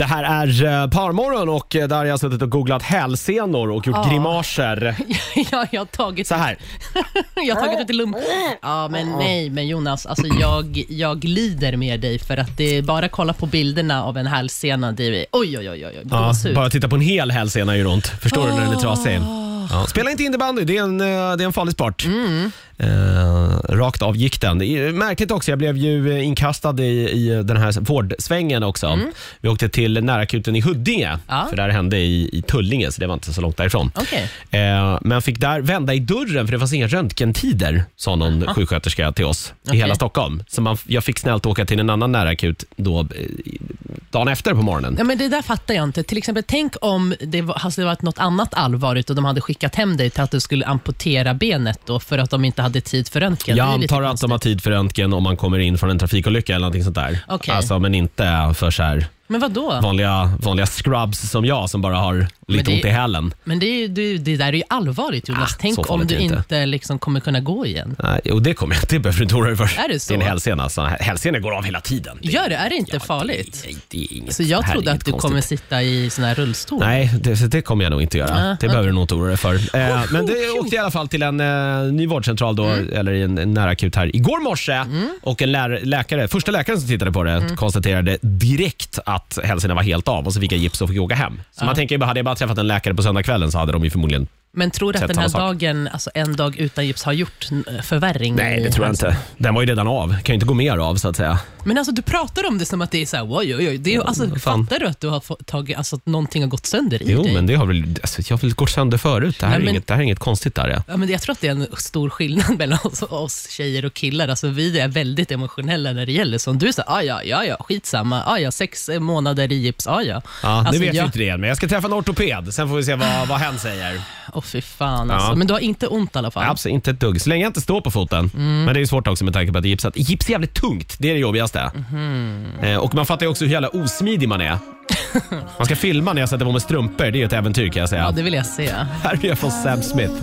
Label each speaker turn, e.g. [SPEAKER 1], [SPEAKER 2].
[SPEAKER 1] Det här är eh, Parmorgon och eh, där har jag suttit och googlat hälsenor och gjort
[SPEAKER 2] Ja.
[SPEAKER 1] grimaser.
[SPEAKER 2] Ja, jag har tagit,
[SPEAKER 1] Så här.
[SPEAKER 2] jag har tagit ut i lump. Ja, men nej, men Jonas, alltså jag, jag glider med dig för att det är bara kolla på bilderna av en hälsena. Det är, oj, oj, oj, oj,
[SPEAKER 1] Ja,
[SPEAKER 2] gåshud. Ah.
[SPEAKER 1] bara titta på en hel hälsena gör ont. Förstår du när den är trasig? Ja. Spela inte innebandy, det är en, eh, det är en farlig sport.
[SPEAKER 2] Mm.
[SPEAKER 1] Eh, rakt av gick den. I- Märkligt också, jag blev ju eh, inkastad i, i den här vårdsvängen också. Vi åkte till närakuten i Huddinge,
[SPEAKER 2] Mm. Ja.
[SPEAKER 1] för det här hände i, i Tullinge, så det var inte så långt därifrån.
[SPEAKER 2] Okej.
[SPEAKER 1] Eh, men fick där vända i dörren, för det fanns inga röntgentider, sa någon sjuksköterska till oss i
[SPEAKER 2] Okej.
[SPEAKER 1] hela Stockholm. Så man, jag fick snällt åka till en annan närakut då, eh, dagen efter på morgonen.
[SPEAKER 2] Ja, men det där fattar jag inte. Till exempel, tänk om det var, alltså, det varit något annat allvarligt och de hade skickat hem dig till att du skulle amputera benet då för att de inte hade tid för röntgen.
[SPEAKER 1] Jag
[SPEAKER 2] Det är lite
[SPEAKER 1] antar att
[SPEAKER 2] konstigt.
[SPEAKER 1] de har tid för röntgen om man kommer in från en trafikolycka eller någonting sånt där.
[SPEAKER 2] Okej.
[SPEAKER 1] Alltså, men inte för så här
[SPEAKER 2] Men vad då?
[SPEAKER 1] vanliga, vanliga scrubs som jag som bara har lite
[SPEAKER 2] det-
[SPEAKER 1] ont i hälen.
[SPEAKER 2] Men det, är ju- det, det där är ju allvarligt Jonas.
[SPEAKER 1] Ah, så
[SPEAKER 2] tänk om
[SPEAKER 1] farligt
[SPEAKER 2] du
[SPEAKER 1] är det inte.
[SPEAKER 2] inte, liksom kommer kunna gå igen.
[SPEAKER 1] Nej, Jo, det kommer jag. Det behöver du inte oroa dig för.
[SPEAKER 2] Är det så?
[SPEAKER 1] Din hälsena. Alltså, hälsena går av hela tiden.
[SPEAKER 2] Gör det? Är det inte
[SPEAKER 1] Ja,
[SPEAKER 2] farligt?
[SPEAKER 1] Det, det är inget,
[SPEAKER 2] Så jag
[SPEAKER 1] det här är
[SPEAKER 2] trodde att
[SPEAKER 1] inget
[SPEAKER 2] du
[SPEAKER 1] konstigt.
[SPEAKER 2] kommer sitta i sån här rullstol.
[SPEAKER 1] Nej, det, så det kommer jag nog inte göra. det
[SPEAKER 2] Nej,
[SPEAKER 1] behöver du nog inte oroa dig för. Eh, men det
[SPEAKER 2] oh.
[SPEAKER 1] åkte i alla fall till en eh, ny vårdcentral då, eller i en, en närakut här igår morse. Och en lär, läkare, första läkaren som tittade på det konstaterade direkt att hälsorna var helt av och så fick jag gips och fick åka hem. Så man tänker, ju bara, hade jag bara träffat en läkare på söndagskvällen så hade de ju förmodligen...
[SPEAKER 2] Men tror du att
[SPEAKER 1] Sett
[SPEAKER 2] den här
[SPEAKER 1] samma sak.
[SPEAKER 2] dagen, alltså en dag utan gips, har gjort n- förvärring?
[SPEAKER 1] Mm.
[SPEAKER 2] i hans-
[SPEAKER 1] inte. Den var ju redan av. Kan ju inte gå mer av så att säga.
[SPEAKER 2] Men alltså du pratar om det som att det är så här, oj, oj, oj. Det är, alltså,
[SPEAKER 1] vad fan.
[SPEAKER 2] fattar du att du har fått, tagit, alltså, att någonting har gått sönder i
[SPEAKER 1] Jo,
[SPEAKER 2] dig?
[SPEAKER 1] men det har väl, alltså, jag har väl gått sönder förut. Det här,
[SPEAKER 2] Nej,
[SPEAKER 1] är,
[SPEAKER 2] men-
[SPEAKER 1] inget, det här är inget konstigt. Där, ja.
[SPEAKER 2] Ja, men jag tror att det är en stor skillnad mellan oss, oss tjejer och killar. Alltså, vi är väldigt emotionella när det gäller sånt. Du är så här, "Ah, ja, ja, ja, skitsamma. Ah, ja, sex eh, månader i gips, ah, ja.
[SPEAKER 1] Ja, nu
[SPEAKER 2] Alltså,
[SPEAKER 1] vet jag...
[SPEAKER 2] jag-
[SPEAKER 1] inte det än, men jag ska träffa en ortoped. Sen får vi se vad, vad hen säger.
[SPEAKER 2] Åh fy fan alltså.
[SPEAKER 1] Ja.
[SPEAKER 2] Men du har inte ont i alla fall?
[SPEAKER 1] Absolut, inte ett dugg. Så länge jag inte står på foten. Men det är ju svårt också med tanke på att det är gipsat. Gips är jävligt tungt. Det är det jobbigaste. Eh, och man fattar ju också hur jävla osmidig man är. Man ska filma när jag sätter på mig strumpor. Det är ju ett äventyr kan jag säga.
[SPEAKER 2] Ja, det vill jag se.
[SPEAKER 1] Här är jag från Sam Smith.